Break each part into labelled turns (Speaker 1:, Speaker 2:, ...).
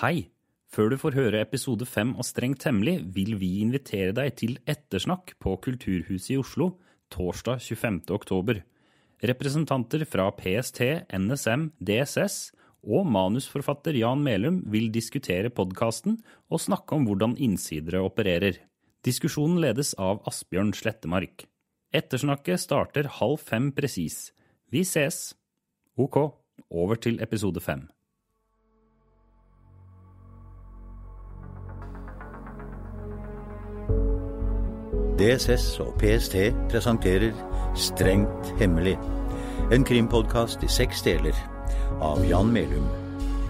Speaker 1: Hei! Før du får høre episode fem av Strengt hemmelig, vil vi invitere deg til ettersnakk på Kulturhuset i Oslo torsdag 25. oktober. Representanter fra PST, NSM, DSS og manusforfatter Jan Melum vil diskutere podkasten og snakke om hvordan innsidere opererer. Diskusjonen ledes av Asbjørn Slettemark. Ettersnakket starter halv fem presis. Vi ses! Ok, over til episode fem.
Speaker 2: DSS og PST presenterer Strengt hemmelig. En krimpodkast i seks deler av Jan Melum.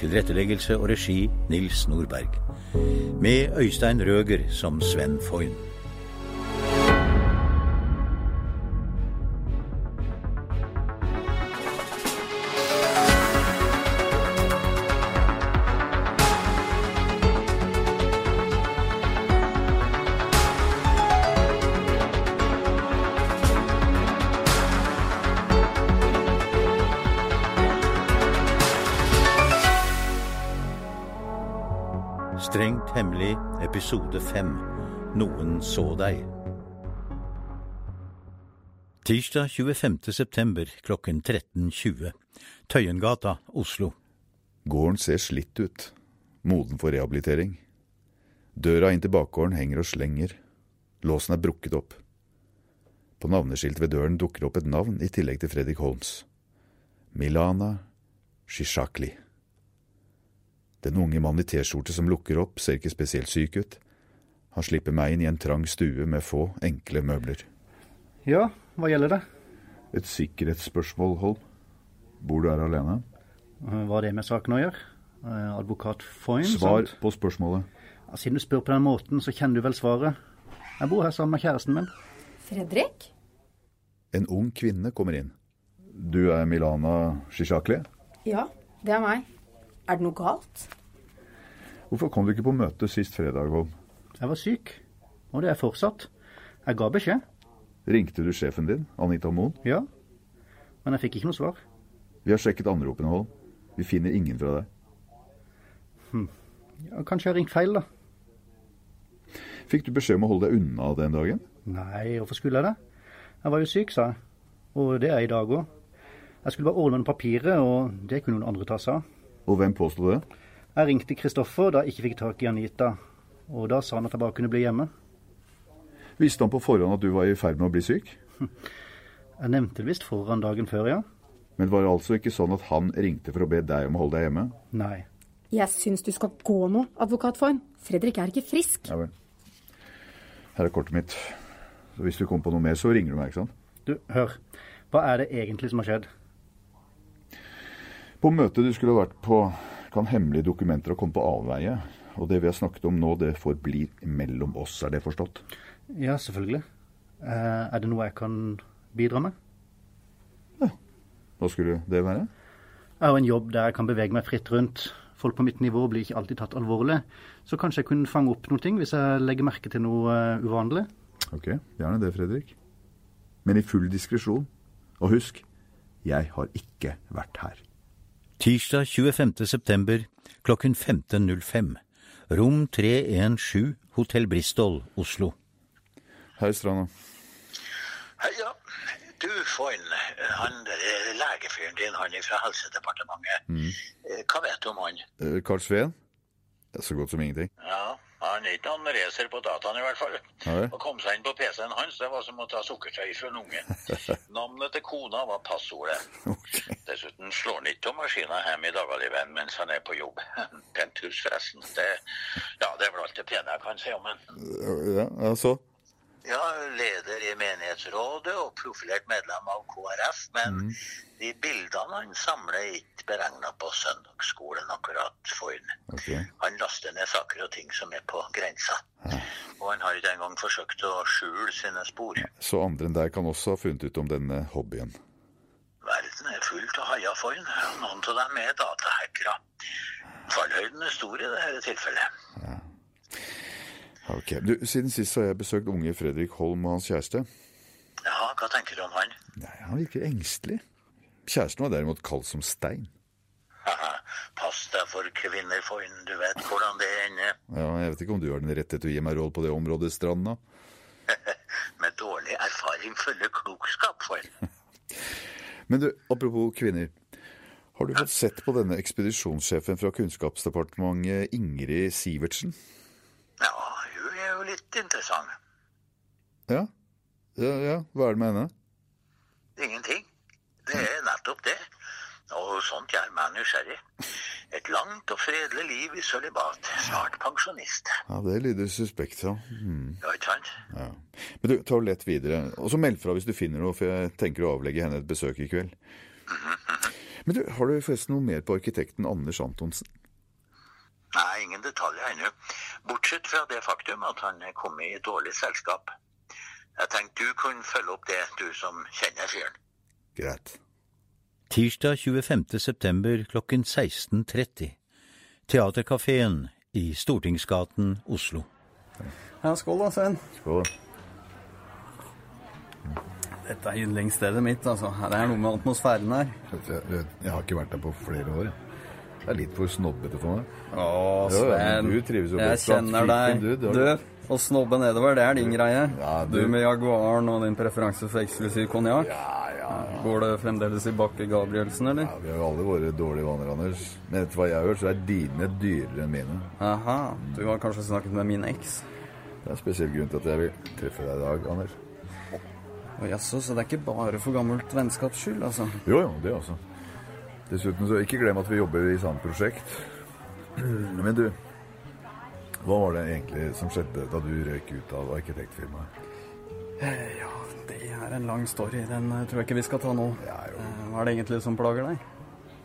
Speaker 2: Tilretteleggelse og regi Nils Nordberg. Med Øystein Røger som Sven Foyn. Strengt hemmelig episode 5 Noen så deg Tirsdag 25. september klokken 13.20 Tøyengata, Oslo
Speaker 3: Gården ser slitt ut, moden for rehabilitering. Døra inn til bakgården henger og slenger. Låsen er brukket opp. På navneskiltet ved døren dukker det opp et navn i tillegg til Fredrik Holms. Milana Shishakli. Den unge mannen i T-skjorte som lukker opp, ser ikke spesielt syk ut. Han slipper meg inn i en trang stue med få, enkle møbler.
Speaker 4: Ja, hva gjelder det?
Speaker 5: Et sikkerhetsspørsmål, Holm. Bor du her alene?
Speaker 4: Eh, Hva har det med saken å gjøre? Eh, Advokat Foyn?
Speaker 5: Svar
Speaker 4: Sant?
Speaker 5: på spørsmålet.
Speaker 4: Ja, Siden du spør på den måten, så kjenner du vel svaret. Jeg bor her sammen med kjæresten min.
Speaker 6: Fredrik?
Speaker 3: En ung kvinne kommer inn.
Speaker 5: Du er Milana Shishakli.
Speaker 6: Ja, det er meg. Er det noe galt?
Speaker 5: Hvorfor kom du ikke på møte sist fredag, Holm?
Speaker 4: Jeg var syk, og det er jeg fortsatt. Jeg ga beskjed,
Speaker 5: Ringte du sjefen din, Anita Moen?
Speaker 4: ja. Men jeg fikk ikke noe svar.
Speaker 5: Vi har sjekket anropene, Holm. Vi finner ingen fra deg.
Speaker 4: Ja, kanskje jeg har ringt feil, da.
Speaker 5: Fikk du beskjed om å holde deg unna den dagen?
Speaker 4: Nei, hvorfor skulle jeg det? Jeg var jo syk, sa jeg. Og det er jeg i dag òg. Jeg skulle bare ordne noen papirer, og det kunne noen andre ta seg av.
Speaker 5: Og hvem påsto det?
Speaker 4: Jeg ringte Kristoffer da jeg ikke fikk tak i Anita, og da sa han at jeg bare kunne bli hjemme.
Speaker 5: Visste han på forhånd at du var i ferd med å bli syk?
Speaker 4: Jeg nevnte det visst foran dagen før, ja.
Speaker 5: Men var det altså ikke sånn at han ringte for å be deg om å holde deg hjemme?
Speaker 4: Nei.
Speaker 6: Jeg syns du skal gå nå, advokat Foyn. Fredrik er ikke frisk.
Speaker 5: Ja vel. Her er kortet mitt. Så hvis du kommer på noe mer, så ringer du meg, ikke sant?
Speaker 4: Du, hør. Hva er det egentlig som har skjedd?
Speaker 5: På møtet du skulle ha vært på, kan hemmelige dokumenter ha kommet på avveie. Og det vi har snakket om nå, det forblir mellom oss, er det forstått?
Speaker 4: Ja, selvfølgelig. Eh, er det noe jeg kan bidra med?
Speaker 5: Hva skulle det være?
Speaker 4: Jeg har en jobb der jeg kan bevege meg fritt rundt. Folk på mitt nivå blir ikke alltid tatt alvorlig. Så kanskje jeg kunne fange opp noen ting hvis jeg legger merke til noe eh, uvanlig?
Speaker 5: Ok, gjerne det, Fredrik. Men i full diskresjon. Og husk, jeg har ikke vært her.
Speaker 2: Tirsdag 25. september klokken 15.05 Rom 317 Hotell Bristol, Oslo
Speaker 5: Hei, Stranda.
Speaker 7: Hei, ja. Du, Foyn, han eh, legefyren din, han er fra Helsedepartementet.
Speaker 2: Mm.
Speaker 7: Eh, Hva vet du om han?
Speaker 5: Eh, Carl Sveen? Ja, Så godt som ingenting.
Speaker 7: Ja, Han er ikke noen racer på dataen, i hvert fall.
Speaker 5: Nei.
Speaker 7: Å komme seg inn på PC-en hans, det var som å ta sukkertøy fra en unge. Navnet til kona var passordet. Dessuten slår han ikke av maskinen hjemme i dagliglivet mens han er på jobb. Pent hus, forresten. Det, ja, det er vel alt det pene jeg kan si om han.
Speaker 5: Ja, altså.
Speaker 7: Ja, leder i menighetsrådet og profilert medlem av KrF, men de bildene han samler er ikke beregna på søndagsskolen akkurat for han.
Speaker 5: Ok.
Speaker 7: Han laster ned saker og ting som er på grensa. Og han har ikke engang forsøkt å skjule sine spor.
Speaker 5: Så andre enn deg kan også ha funnet ut om denne hobbyen.
Speaker 7: Verden er fullt av haier for han. Noen av dem er datahackere. Fallhøyden er stor i dette tilfellet.
Speaker 5: Ok, du, Siden sist har jeg besøkt unge Fredrik Holm og hans kjæreste.
Speaker 7: Ja, hva tenker du om han?
Speaker 5: Nei, Han virker engstelig. Kjæresten var derimot kald som stein.
Speaker 7: Pass Pasta for kvinner, foin, du vet hvordan det ender.
Speaker 3: Ja, jeg vet ikke om du er den rette til å gi meg råd på det området, Stranda.
Speaker 7: Med dårlig erfaring følger klokskap, foin.
Speaker 3: Men du, apropos kvinner. Har du fått sett på denne ekspedisjonssjefen fra Kunnskapsdepartementet, Ingrid Sivertsen?
Speaker 7: Ja, hun er jo litt interessant.
Speaker 3: Ja? Ja, ja. Hva er det med henne?
Speaker 7: Ingenting. Det er nettopp det. Og sånt gjør meg nysgjerrig. Et langt og fredelig liv i sølibat. Snart pensjonist.
Speaker 3: Ja, Det lyder suspekt, ja. Mm.
Speaker 7: Ja, ikke sant?
Speaker 3: ja. Men du, ta og lett videre. Og så meld fra hvis du finner noe, for jeg tenker å avlegge henne et besøk i kveld. Men du, har du forresten noe mer på arkitekten Anders Antonsen?
Speaker 7: Nei, ingen detaljer ennå. Bortsett fra det faktum at han er kommet i dårlig selskap. Jeg tenkte du kunne følge opp det, du som kjenner fyren.
Speaker 3: Greit.
Speaker 2: Tirsdag 25. september klokken 16.30. Teaterkafeen i Stortingsgaten, Oslo.
Speaker 8: Ja, skål da, Svein.
Speaker 3: Skål.
Speaker 8: Dette er yndlingsstedet mitt, altså. Det er noe med atmosfæren her.
Speaker 5: Jeg, jeg, jeg har ikke vært der på flere år. jeg. Det er litt for snobbete for meg.
Speaker 8: Å,
Speaker 5: Jo, ja,
Speaker 8: Svein.
Speaker 5: men du trives jo
Speaker 8: jeg
Speaker 5: best blant
Speaker 8: kjenner deg.
Speaker 5: fiken, du, det
Speaker 8: Du,
Speaker 5: har
Speaker 8: å snobbe nedover, det er din greie.
Speaker 5: Ja,
Speaker 8: du.
Speaker 5: du-
Speaker 8: med Jaguaren og din preferanse for eksklusiv konjakk.
Speaker 5: Ja, ja,
Speaker 8: Går det fremdeles i Bakke Gabrielsen, eller?
Speaker 5: ja. Vi har jo alle våre dårlige vaner, Anders. Men etter hva jeg har hørt, så er dine dyrere enn mine.
Speaker 8: Aha, du har kanskje snakket med min eks.
Speaker 5: Det er en spesiell grunn til at jeg vil treffe deg i dag, Anders.
Speaker 8: Å jaså, så det er ikke bare for gammelt vennskaps skyld, altså.
Speaker 5: Jo, jo, det også. Dessuten så ikke glem at vi jobber i samme prosjekt. Men du, hva var det egentlig som skjedde da du røyk ut av arkitektfirmaet?
Speaker 8: Ja, det er en lang story. Den eh, tror jeg ikke vi skal ta nå.
Speaker 5: Ja, jo.
Speaker 8: Eh, Hva er det egentlig som plager deg?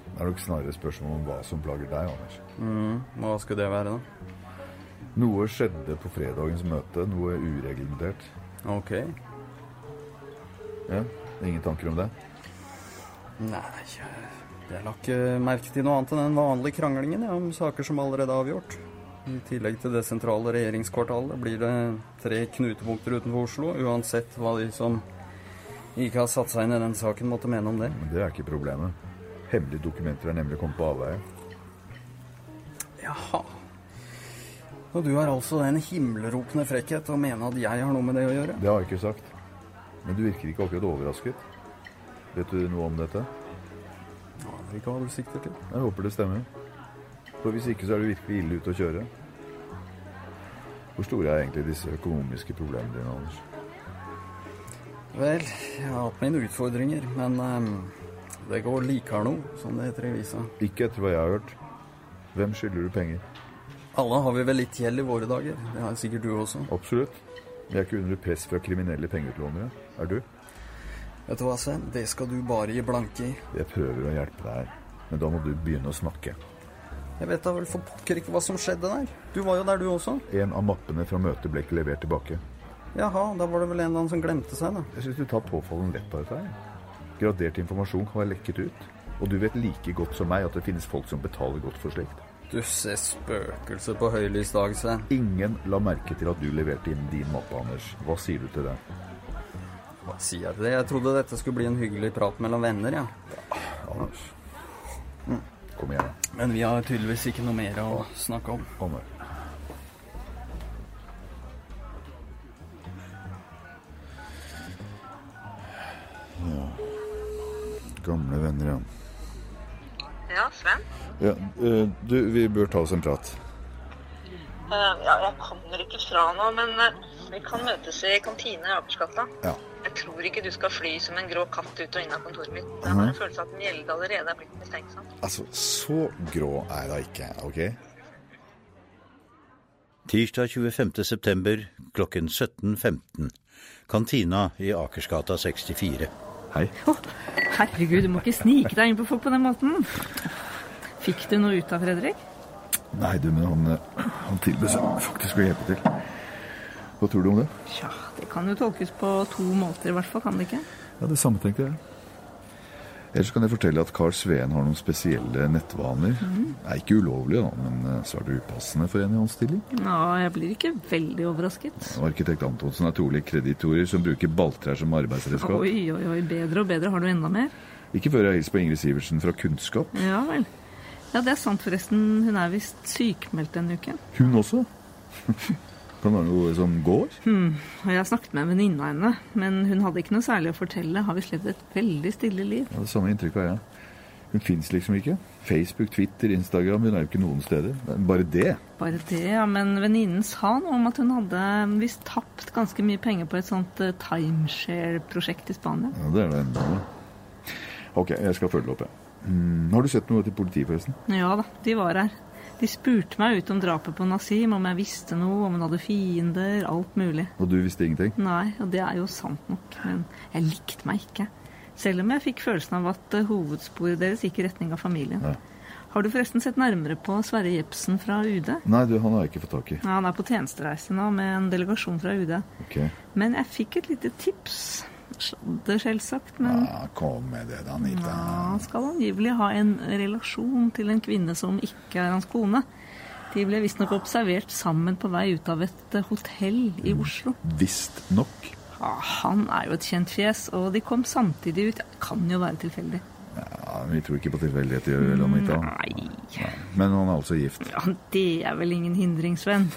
Speaker 5: Det er nok snarere spørsmål om hva som plager deg, Anders.
Speaker 8: Hva skulle det være, da?
Speaker 5: Noe skjedde på fredagens møte, noe ureglementert.
Speaker 8: Ok.
Speaker 5: Ja, ingen tanker om det?
Speaker 8: Nei, jeg la ikke eh, merke til noe annet enn den vanlige kranglingen ja, om saker som allerede er avgjort. I tillegg til det sentrale regjeringskvartalet blir det tre knutepunkter utenfor Oslo, uansett hva de som ikke har satt seg inn i den saken, måtte mene om det.
Speaker 5: Men det er ikke problemet. Hemmelige dokumenter er nemlig kommet på avveie.
Speaker 8: Jaha. Og du har altså den himmelropende frekkhet å mene at jeg har noe med det å gjøre?
Speaker 5: Det har jeg ikke sagt. Men du virker ikke akkurat overrasket. Vet du noe om dette?
Speaker 8: Aner ikke hva du sikter til.
Speaker 5: Jeg håper det stemmer. For hvis ikke, så er du virkelig ille ute å kjøre. Hvor store er egentlig disse økonomiske problemene dine, Anders?
Speaker 8: Vel, jeg har hatt mine utfordringer, men eh, det går likarno, som det heter i visa.
Speaker 5: Ikke etter hva jeg har hørt. Hvem skylder du penger?
Speaker 8: Alle har vi vel litt gjeld i våre dager. Det har sikkert du også.
Speaker 5: Absolutt. Jeg er ikke under press fra kriminelle pengeutlånere. Er du?
Speaker 8: Vet du hva, Sven? Det skal du bare gi blanke i.
Speaker 5: Jeg prøver å hjelpe deg her, men da må du begynne å snakke.
Speaker 8: Jeg vet da vel for pokker ikke hva som skjedde der. Du var jo der, du også.
Speaker 5: En av mappene fra møtet ble ikke levert tilbake.
Speaker 8: Jaha, da var det vel en eller annen som glemte seg, da.
Speaker 5: Jeg syns du tar påfallende lett på dette her. Gradert informasjon kan være lekket ut. Og du vet like godt som meg at det finnes folk som betaler godt for slikt.
Speaker 8: Du ser spøkelse på høylys dag, Sven.
Speaker 5: Ingen la merke til at du leverte inn din mappe, Anders. Hva sier du til det?
Speaker 8: Hva sier jeg til det? Jeg trodde dette skulle bli en hyggelig prat mellom venner, ja.
Speaker 5: Anders. Kom igjen, da.
Speaker 8: Men vi har tydeligvis ikke noe mer å snakke om.
Speaker 5: Anders.
Speaker 3: Gamle venner, ja.
Speaker 9: Ja, Sven?
Speaker 3: ja eh, du, vi bør ta oss en prat.
Speaker 9: Eh, ja, jeg kommer ikke fra nå, men eh, vi kan møtes i kantina i Akersgata.
Speaker 3: Ja.
Speaker 9: Jeg tror ikke du skal fly som en grå katt ut og inn av kontoret mitt. Jeg har en følelse av at Mjelde allerede er blitt mistenksom.
Speaker 3: Altså, så grå er jeg da ikke, ok?
Speaker 2: Tirsdag 25. september klokken 17.15. Kantina i Akersgata 64.
Speaker 5: Hei.
Speaker 10: Herregud, du må ikke snike deg inn på folk på den måten. Fikk du noe ut av Fredrik?
Speaker 5: Nei, du, men han, eh, han tilbød seg faktisk å hjelpe til. Hva tror du om det?
Speaker 10: Tja, det kan jo tolkes på to måter i hvert fall, kan det ikke?
Speaker 5: Ja, det samme tenkte jeg. Ellers kan jeg fortelle at Carl Sveen har noen spesielle nettvaner. Det er ikke ulovlig, da, men eh, svært upassende for en i hans stilling.
Speaker 10: Ja, jeg blir ikke veldig overrasket.
Speaker 5: Og arkitekt Antonsen er trolig kreditorer som bruker balltrær som arbeidsredskap.
Speaker 10: Oi, oi, oi, bedre og bedre. Har du enda mer?
Speaker 5: Ikke før jeg har hilst på Ingrid Sivertsen fra Kunnskap.
Speaker 10: Ja vel. Ja, det er sant forresten. Hun er visst sykemeldt denne uken.
Speaker 3: Hun også? kan være noe som går?
Speaker 10: Hmm. Og jeg har snakket med en venninne av henne, men hun hadde ikke noe særlig å fortelle. Har visst levd et veldig stille liv.
Speaker 3: Ja, det samme inntrykket har jeg. Hun fins liksom ikke. Facebook, Twitter, Instagram, hun er jo ikke noen steder. Bare det.
Speaker 10: Bare det, ja. Men venninnen sa noe om at hun hadde visst tapt ganske mye penger på et sånt eh, timeshare-prosjekt i Spania.
Speaker 3: Ja, Det er det enda med. Ok, jeg skal følge opp, jeg. Mm, har du sett noe til politiet, forresten?
Speaker 10: Ja da, de var her. De spurte meg ut om drapet på Nasim, om jeg visste noe, om hun hadde fiender, alt mulig.
Speaker 3: Og du visste ingenting?
Speaker 10: Nei, og det er jo sant nok, men jeg likte meg ikke. Selv om jeg fikk følelsen av at eh, hovedsporet deres gikk i retning av familien.
Speaker 3: Ja.
Speaker 10: Har du forresten sett nærmere på Sverre Jepsen fra UD?
Speaker 3: Nei, du, han har jeg ikke fått tak i.
Speaker 10: Ja, han er på tjenestereise nå med en delegasjon fra UD.
Speaker 3: Ok.
Speaker 10: Men jeg fikk et lite tips. Det selvsagt, men
Speaker 3: Ja, kom med det, da,
Speaker 10: ja, han skal angivelig ha en relasjon til en kvinne som ikke er hans kone. De ble visstnok observert sammen på vei ut av et eh, hotell i Oslo.
Speaker 3: Visstnok.
Speaker 10: Ja, han er jo et kjent fjes, og de kom samtidig ut. Det kan jo være tilfeldig.
Speaker 3: Ja, men vi tror ikke på tilfeldigheter, eller Anita.
Speaker 10: Nei,
Speaker 3: Men han er altså gift.
Speaker 10: ja, det er vel ingen hindringsvenn.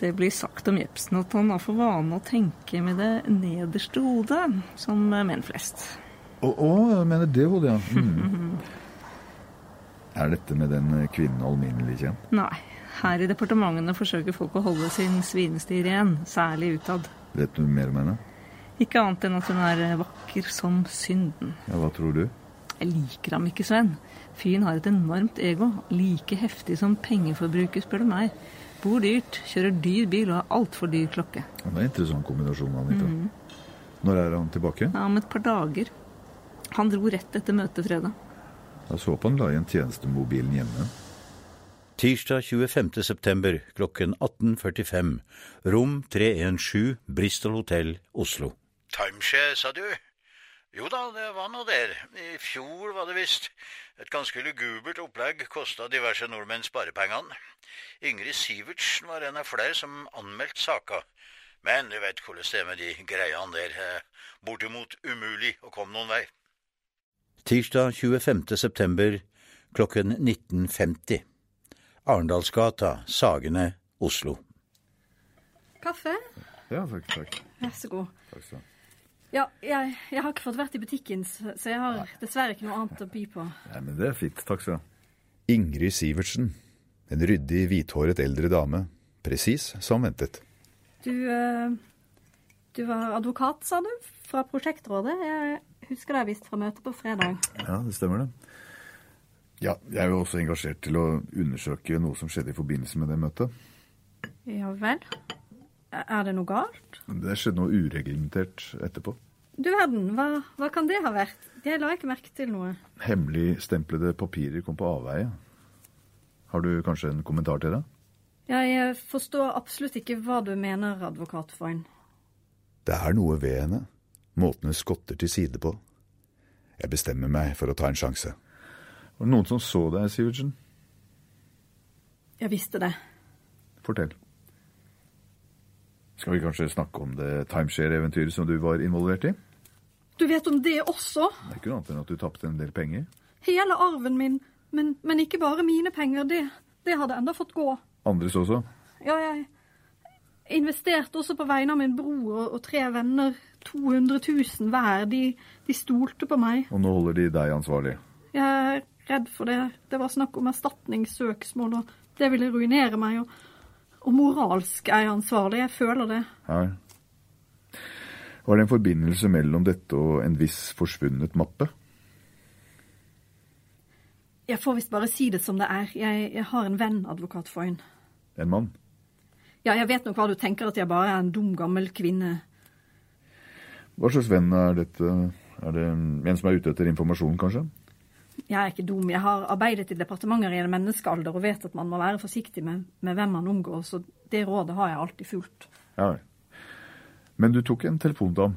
Speaker 10: Det blir sagt om Jepsen at han har for vane å tenke med det nederste hodet, som eh, menn flest.
Speaker 3: Å, å, jeg mener det hodet, ja. Mm. Er dette med den eh, kvinnen alminnelig kjent?
Speaker 10: Nei. Her i departementene forsøker folk å holde sin svinestir igjen, særlig utad.
Speaker 3: Vet du mer om henne?
Speaker 10: Ikke annet enn at hun er vakker som synden.
Speaker 3: Ja, hva tror du?
Speaker 10: Jeg liker ham ikke, Sven. Fyren har et enormt ego. Like heftig som pengeforbruket, spør du meg. Bor dyrt, kjører dyr bil og har altfor dyr klokke.
Speaker 3: Ja, det er en interessant kombinasjon, Anita.
Speaker 10: Mhm.
Speaker 3: Når er han tilbake?
Speaker 10: Ja, om et par dager. Han dro rett etter møtet fredag.
Speaker 3: Jeg så på han la igjen tjenestemobilen hjemme.
Speaker 2: Tirsdag 25. september klokken 18.45. Rom 317, Bristol Hotel, Oslo.
Speaker 7: Timeshare, sa du? Jo da, det var nå der. I fjor var det visst. Et ganske lugubert opplegg kosta diverse nordmenn sparepengene. Ingrid Sivertsen var en av flere som anmeldte saka. Men du vet hvordan det er med de greiene der. eh, Bortimot umulig å komme noen vei.
Speaker 2: Tirsdag 25. september klokken 19.50. Arendalsgata, Sagene, Oslo.
Speaker 11: Kaffe?
Speaker 5: Ja, takk. takk.
Speaker 11: Vær så god.
Speaker 5: takk skal du ha.
Speaker 11: Ja, jeg, jeg har ikke fått vært i butikken, så så jeg har dessverre ikke noe annet å by på.
Speaker 5: Nei, men det er fint. Takk skal du ha.
Speaker 3: Ingrid Sivertsen. En ryddig, hvithåret eldre dame. Presis som ventet.
Speaker 11: Du, eh, du var advokat, sa du, fra prosjektrådet. Jeg husker deg visst fra møtet på fredag.
Speaker 5: Ja, det stemmer det. Ja, jeg er jo også engasjert til å undersøke noe som skjedde i forbindelse med det møtet.
Speaker 11: Ja vel. Er det noe galt?
Speaker 5: Det skjedde noe ureglementert etterpå.
Speaker 11: Du verden, hva, hva kan det ha vært? Jeg la ikke merke til noe.
Speaker 5: Hemmeligstemplede papirer kom på avveie. Har du kanskje en kommentar til det?
Speaker 11: Jeg eh, forstår absolutt ikke hva du mener, advokat Foyn.
Speaker 3: Det er noe ved henne. Måten hun skotter til side på. Jeg bestemmer meg for å ta en sjanse.
Speaker 5: Var det noen som så deg, Sivertsen?
Speaker 11: Jeg visste det.
Speaker 5: Fortell. Skal vi kanskje snakke om det timeshare-eventyret som du var involvert i?
Speaker 11: Du vet om det også?
Speaker 5: Det er ikke noe annet enn at du tapte en del penger.
Speaker 11: Hele arven min, men, men ikke bare mine penger, det, det hadde enda fått gå.
Speaker 5: Andres også.
Speaker 11: Ja, jeg investerte også på vegne av min bror og, og tre venner. 200 000 hver. De, de stolte på meg.
Speaker 5: Og nå holder de deg ansvarlig.
Speaker 11: Jeg er redd for det. Det var snakk om erstatningssøksmål, og det ville ruinere meg. Og, og moralsk er jeg ansvarlig. Jeg føler det.
Speaker 5: Her. Var det en forbindelse mellom dette og en viss forsvunnet mappe?
Speaker 11: Jeg får visst bare si det som det er. Jeg, jeg har en venn, advokat Foyn.
Speaker 5: En mann?
Speaker 11: Ja, jeg vet nok hva du tenker, at jeg bare er en dum, gammel kvinne.
Speaker 5: Hva slags venn er dette? Er det en som er ute etter informasjon, kanskje?
Speaker 11: Jeg er ikke dum. Jeg har arbeidet i departementer i en menneskealder og vet at man må være forsiktig med, med hvem man omgås, og det rådet har jeg alltid fulgt.
Speaker 5: Ja vel. Men du tok en telefon til ham,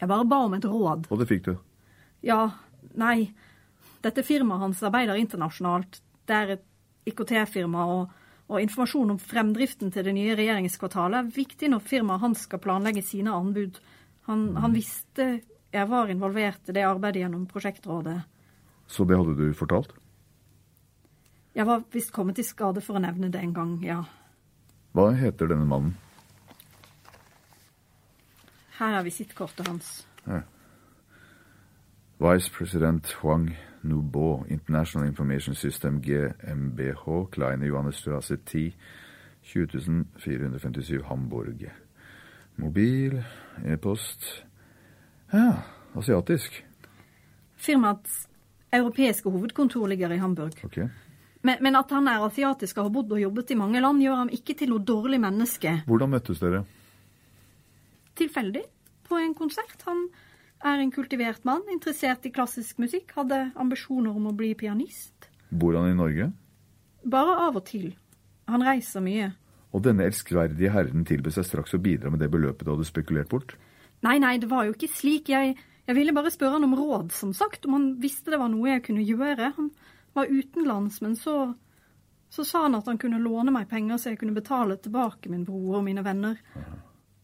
Speaker 11: Jeg bare ba om et råd.
Speaker 5: og det fikk du.
Speaker 11: Ja, nei, dette firmaet hans arbeider internasjonalt. Det er et IKT-firma, og, og informasjon om fremdriften til det nye regjeringskvartalet er viktig når firmaet hans skal planlegge sine anbud. Han, han visste jeg var involvert i det arbeidet gjennom prosjektrådet.
Speaker 5: Så det hadde du fortalt?
Speaker 11: Jeg var visst kommet i skade for å nevne det en gang, ja.
Speaker 5: Hva heter denne mannen?
Speaker 11: Her er visittkortet hans.
Speaker 5: Ja. Vice President Huang Nubo, International Information System, GMBH, Kleine Johannesstrasse 10, 20457 Hamburg. Mobil, e-post Ja, asiatisk.
Speaker 11: Firmaets europeiske hovedkontor ligger i Hamburg.
Speaker 5: Ok.
Speaker 11: Men, men at han er asiatisk og har bodd og jobbet i mange land, gjør ham ikke til noe dårlig menneske.
Speaker 5: Hvordan møttes dere?
Speaker 11: Tilfeldig på en konsert. Han er en kultivert mann, interessert i klassisk musikk, hadde ambisjoner om å bli pianist.
Speaker 5: Bor han i Norge?
Speaker 11: Bare av og til. Han reiser mye.
Speaker 5: Og denne elskverdige herren tilbød seg straks å bidra med det beløpet du hadde spekulert bort?
Speaker 11: Nei, nei, det var jo ikke slik. Jeg, jeg ville bare spørre han om råd, som sagt, om han visste det var noe jeg kunne gjøre. Han var utenlands, men så, så sa han at han kunne låne meg penger så jeg kunne betale tilbake min bror og mine venner.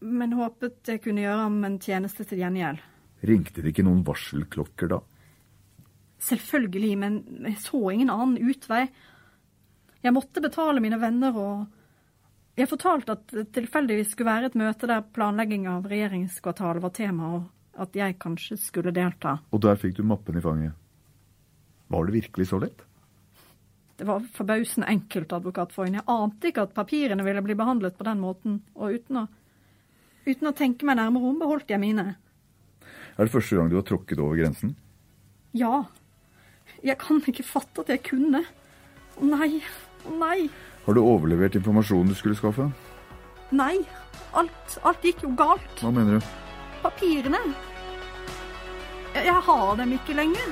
Speaker 11: Men håpet jeg kunne gjøre ham en tjeneste til gjengjeld.
Speaker 5: Ringte det ikke noen varselklokker da?
Speaker 11: Selvfølgelig, men jeg så ingen annen utvei. Jeg måtte betale mine venner, og jeg fortalte at det tilfeldigvis skulle være et møte der planlegging av regjeringskvartalet var tema, og at jeg kanskje skulle delta.
Speaker 5: Og der fikk du mappen i fanget. Var det virkelig så lett?
Speaker 11: Det var forbausende enkelt, advokat Foyn. Jeg ante ikke at papirene ville bli behandlet på den måten, og uten å, uten å tenke meg nærmere om, beholdt jeg mine.
Speaker 5: Er det første gang du har tråkket over grensen?
Speaker 11: Ja. Jeg kan ikke fatte at jeg kunne. Å nei, å nei,
Speaker 5: Har du overlevert informasjonen du skulle skaffe?
Speaker 11: nei. Alt, alt gikk jo galt.
Speaker 5: Hva mener du?
Speaker 11: papirene. Jeg, jeg har dem ikke lenger.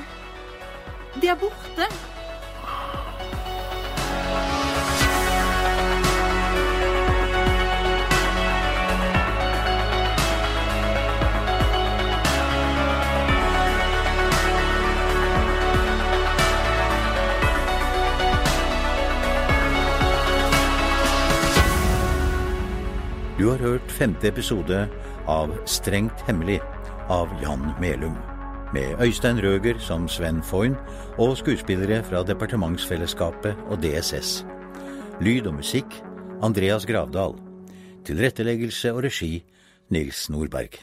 Speaker 11: De er borte.
Speaker 2: Du har hørt femte episode av Strengt hemmelig av Jan Melum. Med Øystein Røger som Sven Foyn og skuespillere fra Departementsfellesskapet og DSS. Lyd og musikk Andreas Gravdal. Tilretteleggelse og regi Nils Nordberg.